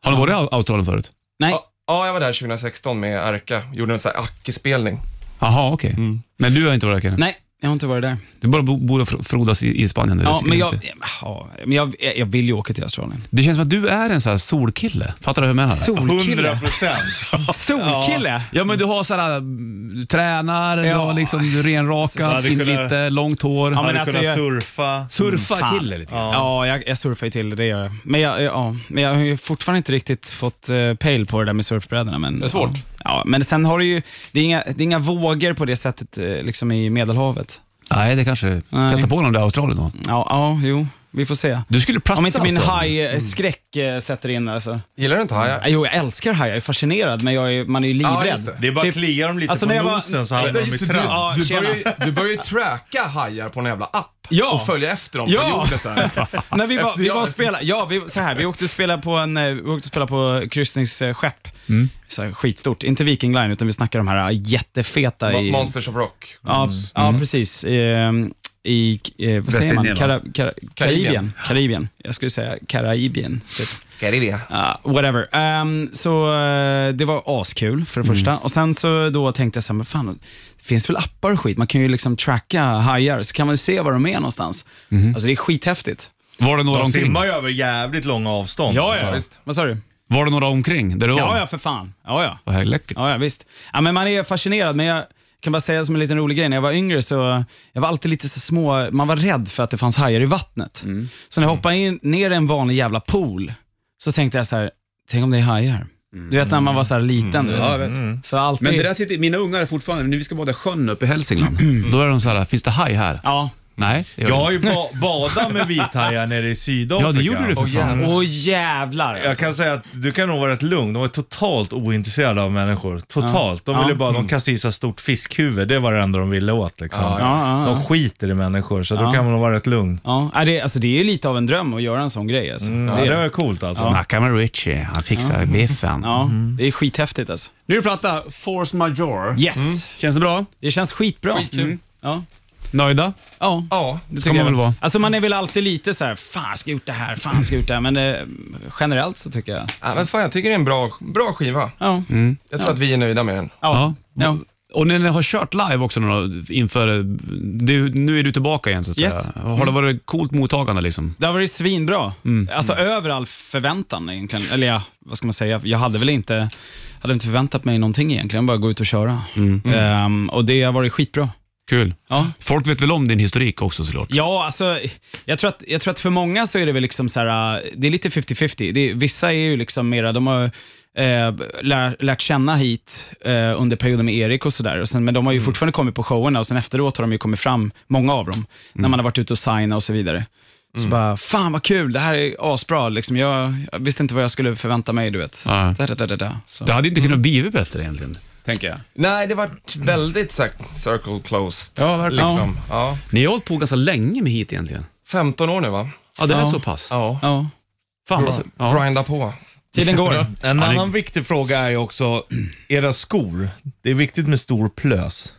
Har ni varit i Au- Australien förut?
Nej,
Ja, ja, jag var där 2016 med Erka. Gjorde en sån här Aki-spelning.
Jaha, okej. Men du har inte varit där Kenneth?
Mm. nej, jag har inte varit där.
Du bara bo- borde fro- frodas i, i Spanien. Du,
Ja,
tycker
men
jag
jag,
inte.
ja, men jag, jag vill ju åka till Australien.
Det känns som att du är en sån här solkille. Fattar du hur jag menar?
Solkille?
100 procent.
Solkille?
Ja, men du har sådär, du tränar, du
Ja.
har liksom du är
Jag
renrakad,
hade
in
kunnat-
lite, långt hår.
men
Hade
alltså,
kunnat
jag-
surfa.
Surfa
Fan.
kille lite grann.
Ja, jag, jag surfar ju till det, det gör jag. Men jag, ja, men jag har ju fortfarande inte riktigt fått eh, pejl på det där med surfbrädorna. Men, det är
svårt.
Ja, ja, men sen har du ju, det är, inga, det är inga vågor på det sättet eh, liksom i Medelhavet.
Nej, det kanske...
Nej.
Testa på någon där i Australien då.
Ja, ja jo, vi får se.
Du skulle platsa
Om inte min
alltså.
hajskräck eh, sätter in alltså.
Gillar du inte hajar?
Jo, jag älskar hajar, jag är fascinerad, men jag är, man är ju livrädd.
Ja, just det.
Det är bara
Typ-
att klia dem lite
Alltså,
på
när jag var-
nosen så hamnar de i
just det,
trans.
Ja,
Du
tjena.
börjar, ju, du börjar ju tracka hajar på en jävla app
Ja.
och följa efter dem
Ja.
på jorden så här.
När vi var,
Efter
vi
jag-
var och spela, ja, vi, så här, vi åkte och spelade på, en, eh, vi åkte och spelade på kryssningsskepp. Så här, skitstort. Inte Viking Line, utan vi snackar de här eh, jättefeta i...
Monsters of Rock.
ja, ja, precis. Ehm, I, eh, vad säger man?
Västindien, va?
Kara, kara, Karibien. Karibien. Jag skulle säga Karibien. Typ.
Karibia.
Ja, whatever. Ehm, så eh, det var askul för det första. Och sen så då tänkte jag så här, men fan, det finns väl appar och skit? Man kan ju liksom tracka hajar, så kan man ju se var de är någonstans. Alltså det är skithäftigt.
Var det några,
De
omkring?
simmar ju över jävligt långa avstånd. Alltså,
Ja,
Så.
ja. Vad sa du?
Var det några omkring där du var?
Ja, ja, för fan. Ja, ja.
Det här är läckert.
Ja, ja visst. Ja, men man är fascinerad, men jag kan bara säga som en liten rolig grej. När jag var yngre så jag var alltid lite så små, man var rädd för att det fanns hajar i vattnet.
Mm.
Så när jag hoppade in, ner i en vanlig jävla pool så tänkte jag så här, tänk om det är hajar. Du vet när man var så här liten. du vet.
Mm. jag vet.
Så alltid,
Men det där sitter, mina ungar är fortfarande, nu vi ska bada i sjön uppe i Hälsingland, då är de så här, finns det haj här?
Ja.
Nej, det gör
Jag
det
har
inte.
ju ba- badat med vithajar nere i Sydafrika.
Ja, det gjorde du för fan.
Åh jävlar
Jag
alltså.
kan säga att du kan nog vara rätt lugn. De var totalt ointresserade av människor. Totalt. De ville
Ja.
bara, de kastade i sig ett stort fiskhuvud. Det var det enda de ville åt liksom.
ja, ja.
De skiter i människor, så då kan man nog vara rätt lugn.
Ja, ja, det, alltså, det är ju lite av en dröm att göra en sån grej. Alltså.
Mm.
Ja, det var coolt alltså.
Snacka med Richie, han fixar biffen.
Ja, det är skithäftigt alltså.
Nu är det platta, Force Major.
Yes,
Känns det bra?
det känns skitbra. Mm.
Skitkul.
Ja.
Nöjda?
Ja,
Ja,
det
ska man väl vara.
Alltså man är väl alltid lite så här, fan jag ska gjort det här, fan jag ska gjort det här, men eh, generellt så tycker jag,
ja, men fan, jag tycker det är en bra, bra skiva.
ja.
Jag tror att vi är nöjda med den.
Ja. ja.
Och när ni har kört live också några, inför, det, är ju- nu är du tillbaka igen så att
Yes. Mm.
säga. Har det varit coolt mottagande liksom?
Det har varit svinbra.
Mm.
Alltså över all förväntan egentligen. Eller ja, vad ska man säga? Jag hade väl inte, hade inte förväntat mig någonting egentligen. Bara gå ut och köra.
Mm.
Ehm, och det har varit skitbra.
Kul.
Ja.
Folk vet väl om din historik också såklart?
Ja, alltså, jag tror, att, jag tror att för många så är det väl liksom så här, äh, det är lite 50-50. Det är- Vissa är ju liksom mera, de har eh, lär, lärt känna hit eh, under perioden med Erik och sådär. Och sen- Men
Mm.
de har ju fortfarande kommit på showerna och sen efteråt har de ju kommit fram, många av dem,
Mm.
när man har varit ute och signat och så vidare. Så bara, fan vad kul, det här är asbra. Liksom, jag, jag visste inte vad jag skulle förvänta mig, du vet.
Nej.
Da, da, da, da, da. Så.
Det hade inte kunnat blivit bättre egentligen, tänker jag.
Nej, det var väldigt så här, circle closed.
Ja, verkligen.
Liksom. Ja.
Ni har hållit på ganska länge med hit egentligen.
15 år nu va?
Ja, det är
Ja.
så pass.
Ja.
Ja.
Fan, vad så- ja.
Grinda på.
Tiden går.
En
det-
annan viktig fråga är ju också era skor. Det är viktigt med stor plös.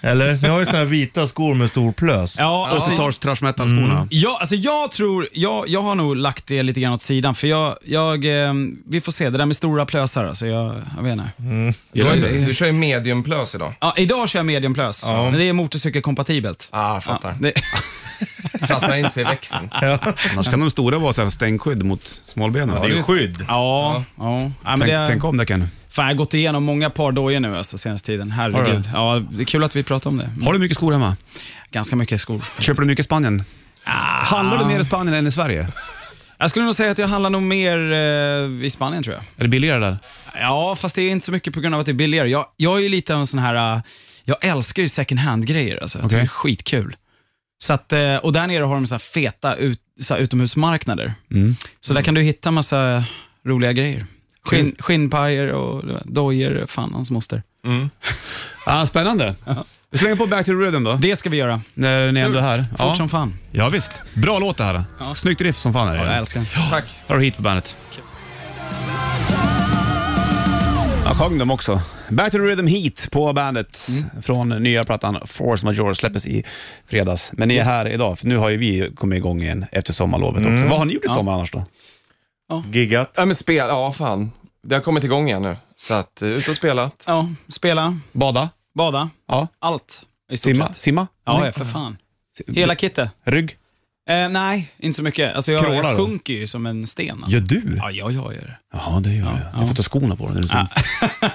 Eller? Ni har ju såna här vita skor med stor plös.
Ja,
Och
alltså-
så tar trash metal-skorna.
Ja, alltså jag tror, jag, jag har nog lagt det lite grann åt sidan för jag, jag eh, vi får se, det där med stora plösar alltså, jag, jag vet inte.
Du, har
Gillar inte?
ju- du kör ju mediumplös idag.
Ja, idag kör jag mediumplös, men det är motorcykelkompatibelt.
Ah, fattar.
Det,
Trasslar in sig i växeln.
Annars kan de stora vara så här stänkskydd mot smålbenen.
Det är ju skydd.
ja, ja. ja men
tänk,
det,
tänk om det kan.
Fan, jag har gått igenom många par dojor nu alltså senaste tiden, herregud. Ja, det är kul att vi pratar om det.
Har du mycket skor hemma?
Ganska mycket skor.
Köper du mycket i Spanien? Handlar du mer i Spanien än i Sverige?
Jag skulle nog säga att jag handlar nog mer eh, i Spanien tror jag.
Är det billigare där?
Ja, fast det är inte så mycket på grund av att det är billigare. Jag, jag är ju lite av en sån här, äh, jag älskar ju second hand-grejer. Alltså. Jag tycker
Okej.
det är skitkul. Så att, eh, och där nere har de så här feta ut, så här utomhusmarknader.
Mm.
Så där kan du hitta massa roliga grejer. Skinn, skinnpajer och dojor, fan hans moster.
Ah, spännande. Vi slänger på Back to the Rhythm då,
Det ska vi göra, fort
när ni ändå är här. Ja.
som fan.
ja, visst. Bra låt det här. Snyggt riff som fan är det.
Ja, jag älskar den.
Tack.
Här har du hit på bandet. Jag sjöng dem också. Back to the Rhythm Heat på bandet från nya plattan Force Major släpptes i fredags. Men ni är här idag, för nu har ju vi kommit igång igen efter sommarlovet också. Vad har ni gjort i sommar annars då?
Giggat.
Ja, men spel, ja fan. Det har kommit igång igen nu. Så att, eh, ut och spelat.
Ja, spela,
Bada?
bada,
Ja.
allt. I stort
Simma?
sett.
Simma?
Ja, ja, för fan.
Nej.
Hela kittet.
Rygg?
Eh, nej, inte så mycket. Alltså jag,
Krålar
jag
du?
sjunker ju som en sten. Alltså.
Gör du?
Ja, ja, jag gör det.
Ja, Ah. det gör jag. Jag får ta skorna på dig. Ja.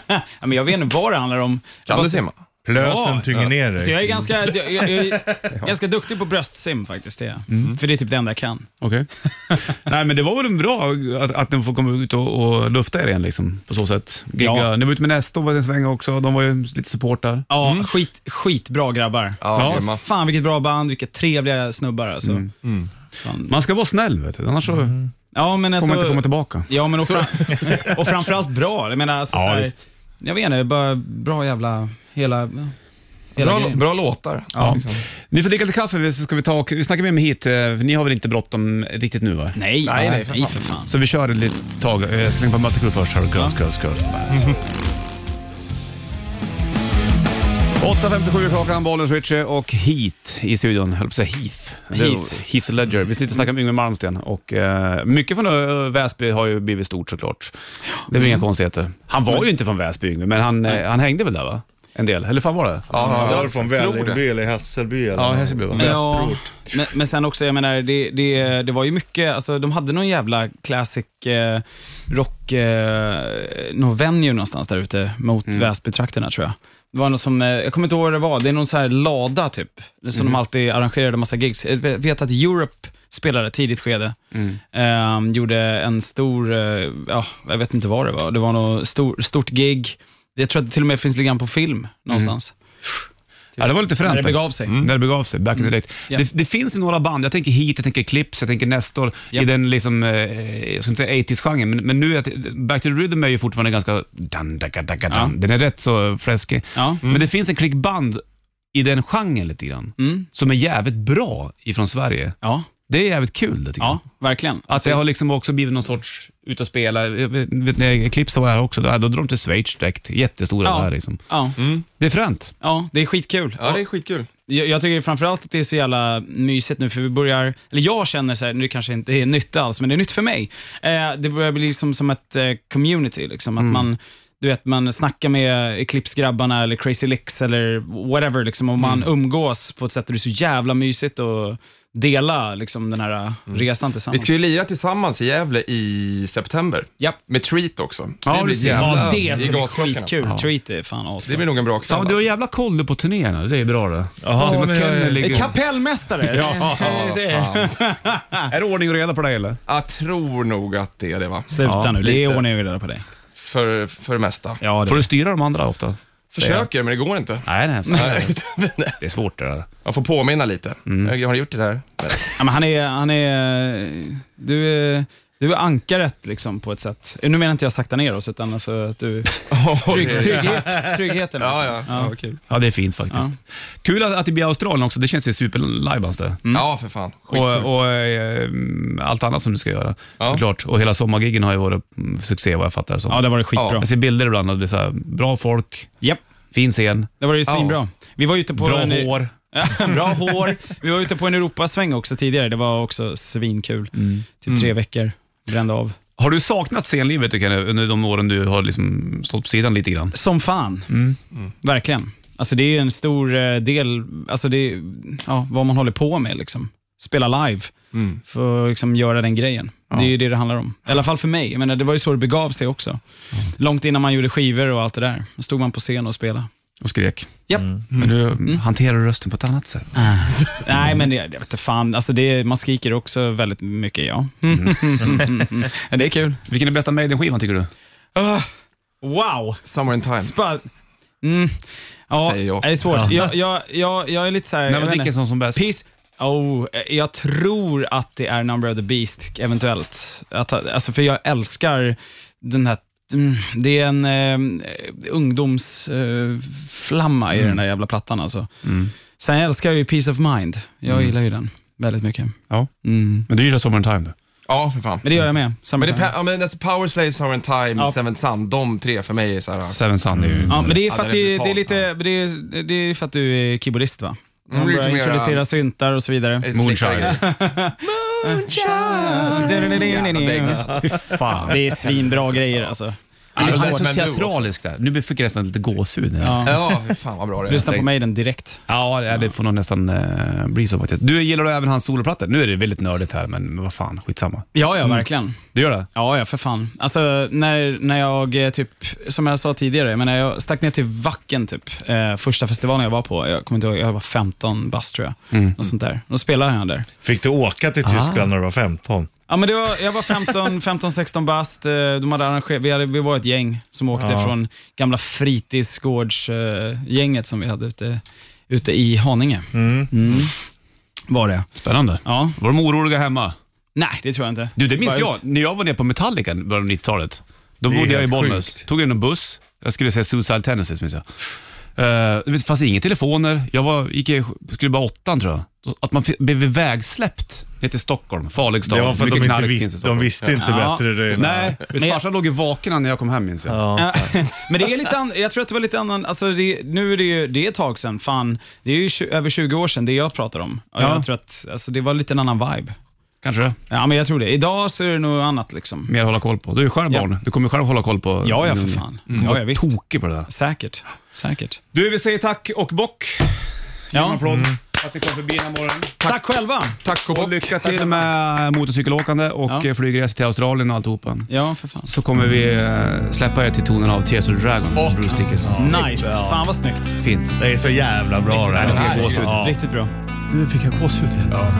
Ja, men jag vet inte vad det handlar om. Jag
Kan
bara-
du simma?
Plösen
Ja.
tynger ner
Så jag
dig.
är ganska, jag, jag, jag är ganska duktig på bröstsim faktiskt. Det. är jag.
Mm.
För det är typ det enda jag kan.
Okej. Nej, men det var väl bra att, att ni får komma ut och, och lufta er igen liksom, på så sätt. Gigga.
Ja.
Ni var ute med Nesto var det en sväng också. De var ju lite supportar.
Ja, skit, skitbra grabbar.
Ja,
Alltså,
simma.
Fan vilket bra band, vilka trevliga snubbar alltså.
Mm.
Fan.
Man ska vara snäll, vet du. annars så kommer
Ja, men Mm. alltså,
man inte komma tillbaka.
Ja, men och, fram, och framförallt bra. Jag menar, alltså,
Ja,
så här,
visst.
jag vet inte, bara bra jävla, hela, hela
Bra,
grejen.
bra låtar.
Ja. Ni får dricka lite kaffe, så ska vi, ta och, vi snackar med mig hit. eh, för Ni har väl inte bråttom riktigt nu, va?
Nej,
Nej, nej, för fan.
för fan.
Så vi kör ett litet tag. Eh, Jag slänger på Mötley Crüe först. Här har du Girls, Girls, Girls på bandet. 8.57 är klockan, Bollens Ritchie och Heat i studion. Jag höll på att säga Heath. Det-
Heath.
Heath Ledger. Vi sitter och snackar om Yngwie Malmsteen och eh, mycket från eh, Väsby har ju blivit stort såklart. Det är väl inga konstigheter. Han var ju inte från Väsby Yngwie, men han, eh, han hängde väl där va? en del. Eller fan var det?
Han
jag
var från
tror
Vällingby eller Hässelby. Eller
Ja, Hässelby, va?
Västerort.
men, men sen också, jag menar, det, det, det var ju mycket, alltså de hade någon jävla classic eh, rock, eh, någon venue någonstans där ute mot
Mm.
Väsbytrakterna tror jag. Det var något som, eh, jag kommer inte ihåg vad det var, det är någon så här lada typ, som
Mhm.
de alltid arrangerade massa gigs. Jag vet att Europe spelade tidigt skede,
Mm.
eh, gjorde en stor, eh, ja, jag vet inte vad det var, det var något stor, stort gig. Jag tror att det till och med finns lite grann på film någonstans.
Mm. Ja, det var lite fränt.
När det begav sig.
Mm. När det begav sig, back in the days.
Ja.
Det, det finns ju några band, jag tänker Heat, jag tänker Clips, jag tänker Nestor,
Ja.
i den liksom, eh, jag ska inte säga 80s-genren, men, men nu, är det- Back to the Rhythm är ju fortfarande ganska, dun, daka, daka, dun.
Ja.
den är rätt så fläskig.
Ja. Mm.
Men det finns en klick band i den genren lite grann, som är jävligt bra ifrån Sverige.
Mm. Ja,
Det är jävligt kul det tycker
ja, verkligen. Alltså,
jag. Att det har liksom också blivit någon sorts ut och spela. Jag Vet, vet när Clips var här också, då, då drar de till Schweiz direkt. Jättestora
Ja.
där liksom.
Ja,
Det är fränt.
ja, det är skitkul.
Ja, det är skitkul.
Jag, jag tycker framförallt att det är så jävla mysigt nu, för vi börjar, eller jag känner så här, nu kanske inte är nytt alls, men det är nytt för mig. Eh, det börjar bli liksom, som ett eh, community, liksom, att
Mm.
man du vet, man snackar med Eclipse-grabbarna eller Crazy Licks eller whatever, liksom, och
Mm.
man umgås på ett sätt och det är så jävla mysigt att dela liksom, den här eh, resan
Mm. Vi
tillsammans.
ska ju lira tillsammans i Gävle i september.
Japp.
Med Treat också.
Ja,
blir
det ser-
jävla-
Ja, det
i
ska bli
gasklockorna.
skitkul. Treat är fan asbra.
Det blir nog en bra
Fan,
kväll.
du har
alltså.
jävla koll på turnéerna. Det är bra det.
Jaha,
Så
men jag
McKellen
är-
ligger-
Kapellmästare!
Ja,
Jag säger.
fan.
Är det ordning och reda på dig eller?
alltså. Jag tror nog att det är det va?
Sluta
Ja,
nu, det är
lite.
ordning och reda på dig.
För, för det mesta.
Ja,
Får du styra de andra ofta?
Försöker, men det går inte.
Nej, nej. Så här. det är svårt det där.
Man får påminna lite. Jag har gjort det där.
Ja, men han är, han är, du är, du är ankaret liksom på ett sätt. Nu menar inte jag sakta ner oss, utan alltså att du... Trygg, trygghet, tryggheten.
Ja, ja.
liksom.
Ja, kul.
Ja, Mm, det är fint faktiskt. Kul att, att det blir Australien också. Det känns ju superlajbans det.
ja för fan. Skitkul.
Och, och eh, allt annat som du ska göra
Ja.
såklart. Och hela sommargiggen har ju varit mm, succé vad jag fattar det som.
Ja, det var det skitbra.
Jag ser bilder ibland och det är så här, bra folk,
Japp,
fin scen,
det var det ju svinbra. Vi var ute på
bra
en,
hår.
bra hår. Vi var ute på en Europasväng också tidigare. Det var också svinkul. Typ tre veckor, brände av.
Har du saknat scenlivet tycker jag, under de åren du har liksom stått på sidan lite grann?
Som fan. Verkligen. Alltså det är en stor eh, del, alltså det är, ja, vad man håller på med liksom. Spela live, för att liksom göra den grejen. Det är ju det det handlar om. I alla fall för mig. Jag menar, det var ju så det begav sig också. Långt innan man gjorde skivor och allt det där. Då stod man på scen och spelade.
Och skrek. Mm.
Japp.
Men nu hanterar du rösten på ett annat sätt.
Nej, men det, jag vet inte fan. Alltså det, man skriker också väldigt mycket, ja. det är kul.
Vilken är bästa Maiden-skivan tycker du?
Wow!
Summer in time.
Spa- mm. Ja,
Säger jag.
är det är svårt. Jag, jag, jag, jag är lite så här...
När
jag
var
vet inte.
Dickinson som
Alltså-
bäst?
Peace. Oh, eh, jag tror att det är Number of the Beast, eventuellt. Att, alltså, för jag älskar den här... mm, Det är en eh, ungdomsflamma i
Mm.
den där jävla plattan. Alltså. Sen älskar jag ju Peace of Mind. Jag
Mm.
gillar ju den väldigt mycket.
Ja.
Mm.
Men du gillar Summer in Time du?
Ja, för fan.
Men det gör jag med.
Mm. Men, det,
Summertime.
är pa- ja, men alltså Power Slave, Summer in time,
Ja.
Seven Sun. De tre för mig är så här...
Seven Sun är ju...
Mm. Ja, men det är för att,
Ja, den är
det, det är
brutal.
lite, det är, det är för att du är keyboardist va?
Mm,
Man börjar
lite mera-
introducera syntar och så vidare.
är
Moonshine. Fy fan.
Det är svinbra grejer alltså.
Alltså, det är
Men
så
nu
teatraliskt där. Nu fick jag nästan lite gåshud. här.
Ja.
Ja, för fan vad bra det är.
Lyssna på mig den direkt.
Ja, det- det får nog nästan eh, bli så faktiskt. Du gillar du även hans soloplattor? Nu är det väldigt nördigt här, men men vad fan, skitsamma.
Ja, ja, verkligen.
Du gör det?
Ja, ja, för fan. Alltså, när, när jag eh, typ, som jag sa tidigare, men när jag stack ner till Vacken typ, eh, första festivalen jag var på, jag kommer inte ihåg, jag var 15 bast tror jag. Något sånt där. Då spelade han där.
Fick du åka till Tyskland när du var 15?
Ja, men det var, jag var 15, 15 16 bast. Eh, De hade arrangerat, vi, hade, vi var ett gäng som åkte från gamla fritidsgårdsgänget som vi hade ute, ute i Haninge. Mm. Var det.
Spännande.
Ja.
Var de oroliga hemma?
Nej, det tror jag inte.
Du, det minns
Bara
jag.
ut.
När jag var nere på Metallica i början av 90-talet, då
Det är
bodde jag i
helt
Bollnäs.
sjukt.
Tog en buss. Jag skulle säga Suicide Tendencies, minns jag. Eh, Det fanns inga telefoner. Jag var, gick i, skulle bara åttan, tror jag. Att man fi- blev ivägsläppt ner till Stockholm, farlig stad.
Det var för att de
Mycket
inte
knark finns i
visste, de
Stockholm.
visste inte
Ja.
bättre. Det ena.
Nej,
Men
min
jag-
farsa låg i vaken när jag kom hem, minns jag.
Ja.
Ja, men det är lite an- jag tror att det var lite annan, alltså det, nu är det ju, det är ett tag sedan, fan, det är ju tju- över 20 år sedan det jag pratar om. Och
Ja.
Jag tror att, alltså det var lite en annan vibe.
Kanske det.
Ja, men jag tror det. Idag så är det nog annat liksom.
Mer att hålla koll på. Du är ju själv
Ja.
barn. Du kommer ju själv hålla koll på...
Ja, ja, för fan.
Du kommer
Ja,
vara
ja, visst.
tokig på det där.
Säkert. Säkert.
Du, vi säger tack och bock. En
Ja.
applåd för att ni kom förbi den här morgonen.
Tack själva.
Tack och
Och lycka till med motorcykelåkande och
Ja.
ja. flygresor till Australien och alltihopa.
Ja, för fan.
Så kommer vi eh, släppa er till tonen av Tears of the Dragon.
Åh.
Bruce Dickinson.
Nice. Fan vad snyggt.
Fint.
Det är så jävla bra det
Ja,
här.
det är gåshud.
Ja.
Riktigt bra.
Nu fick jag gåshud igen. Ja.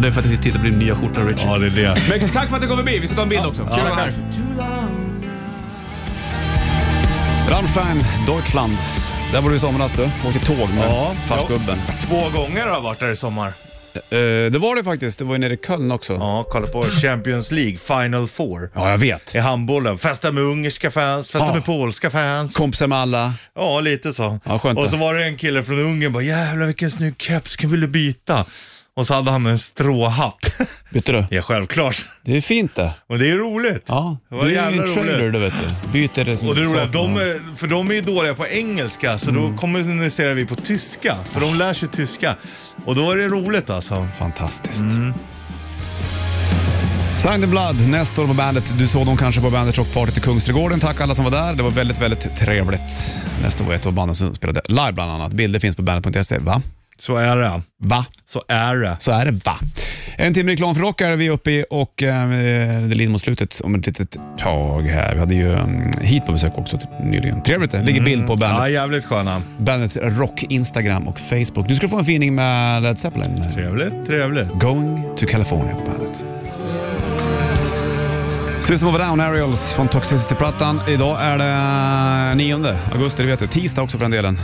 det är för att jag tittar på din nya skjorta Richard.
Ja, det är det.
Men tack för att du kom förbi. Vi ska ta en bild också.
Kul att vara här.
Rammstein, Deutschland. Där var du i somras du. Åkte tåg med
Ja,
farsgubben.
Två gånger har jag varit där i sommar.
Eh, det var det faktiskt. Det var ju nere i Köln också. Ja,
Ja, kolla på Champions League Final Four
jag vet.
i handbollen. Festa med ungerska fans, festa
Ja.
med polska fans.
Kompisar med alla.
Ja, lite så.
Ja, skönt
och
det.
så var det en kille från Ungern bara “Jävlar vilken snygg keps, kan vill du byta?” Och så hade han en stråhatt.
Bytte du?
ja, självklart.
Det är fint det.
Och det är roligt.
Ja,
Det var
du är ju
jävla
en trader
roligt.
du vet du. Byter det som
Och det roliga,
saker.
de är, för de är ju dåliga på engelska, så
Mm.
då kommunicerar vi på tyska. För de lär sig tyska. Och då är det roligt alltså.
Fantastiskt. Sign the Blood, Nestor på bandet. Du såg dem kanske på bandet Rockpartyt i Kungsträdgården. Tack alla som var där. Det var väldigt, väldigt trevligt. Nestor var ett av banden som spelade live bland annat. Bilder finns på bandet.se. Va?
Så är det.
Va?
Så är det.
Så är det va? En timme reklam för rock är vi uppe i och eh, det lider mot slutet om ett litet tag här. Vi hade ju um, hit på besök också typ, nyligen. Trevligt det. ligger bild på
Ja,
bandet,
jävligt sköna.
bandet Rock, Instagram och Facebook. Du ska få en fining med Led Zeppelin.
Trevligt, trevligt.
Going to California på bandet. Slut på Down Aerials från Toxicity-plattan. Idag är det 9 augusti, det vet du. Tisdag också för den delen.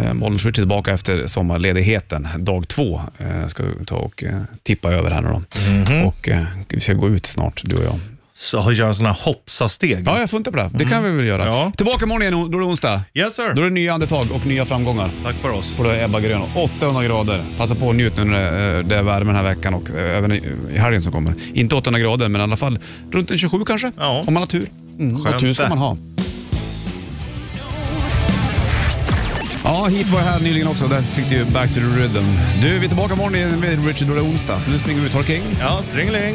Eh, Bollnäs Rich är tillbaka efter sommarledigheten. Dag två eh, ska vi ta och eh, tippa över här nu då. Och eh, vi ska gå ut snart, du och jag.
Så göra sådana här hoppsasteg.
Ja, jag funtar på det. Det kan vi väl göra.
Ja.
Tillbaka imorgon igen, då är det onsdag.
Yes sir.
Då är det nya andetag och nya framgångar.
Tack för oss.
Och då är Ebba Grön. 800 grader. Passa på att njut nu när det, eh, det är värme den här veckan och eh, även i i helgen som kommer. Inte 800 grader, men i alla fall runt en 27 kanske.
Ja.
Om man har tur. Mm, och tur ska
det.
man ha. Ja, hit var jag här nyligen också. Där fick du ju Back to the Rhythm. Du, vi är tillbaka imorgon igen med Richard och det är onsdag. Så nu springer vi ut. Håll king.
Ja, stringeling.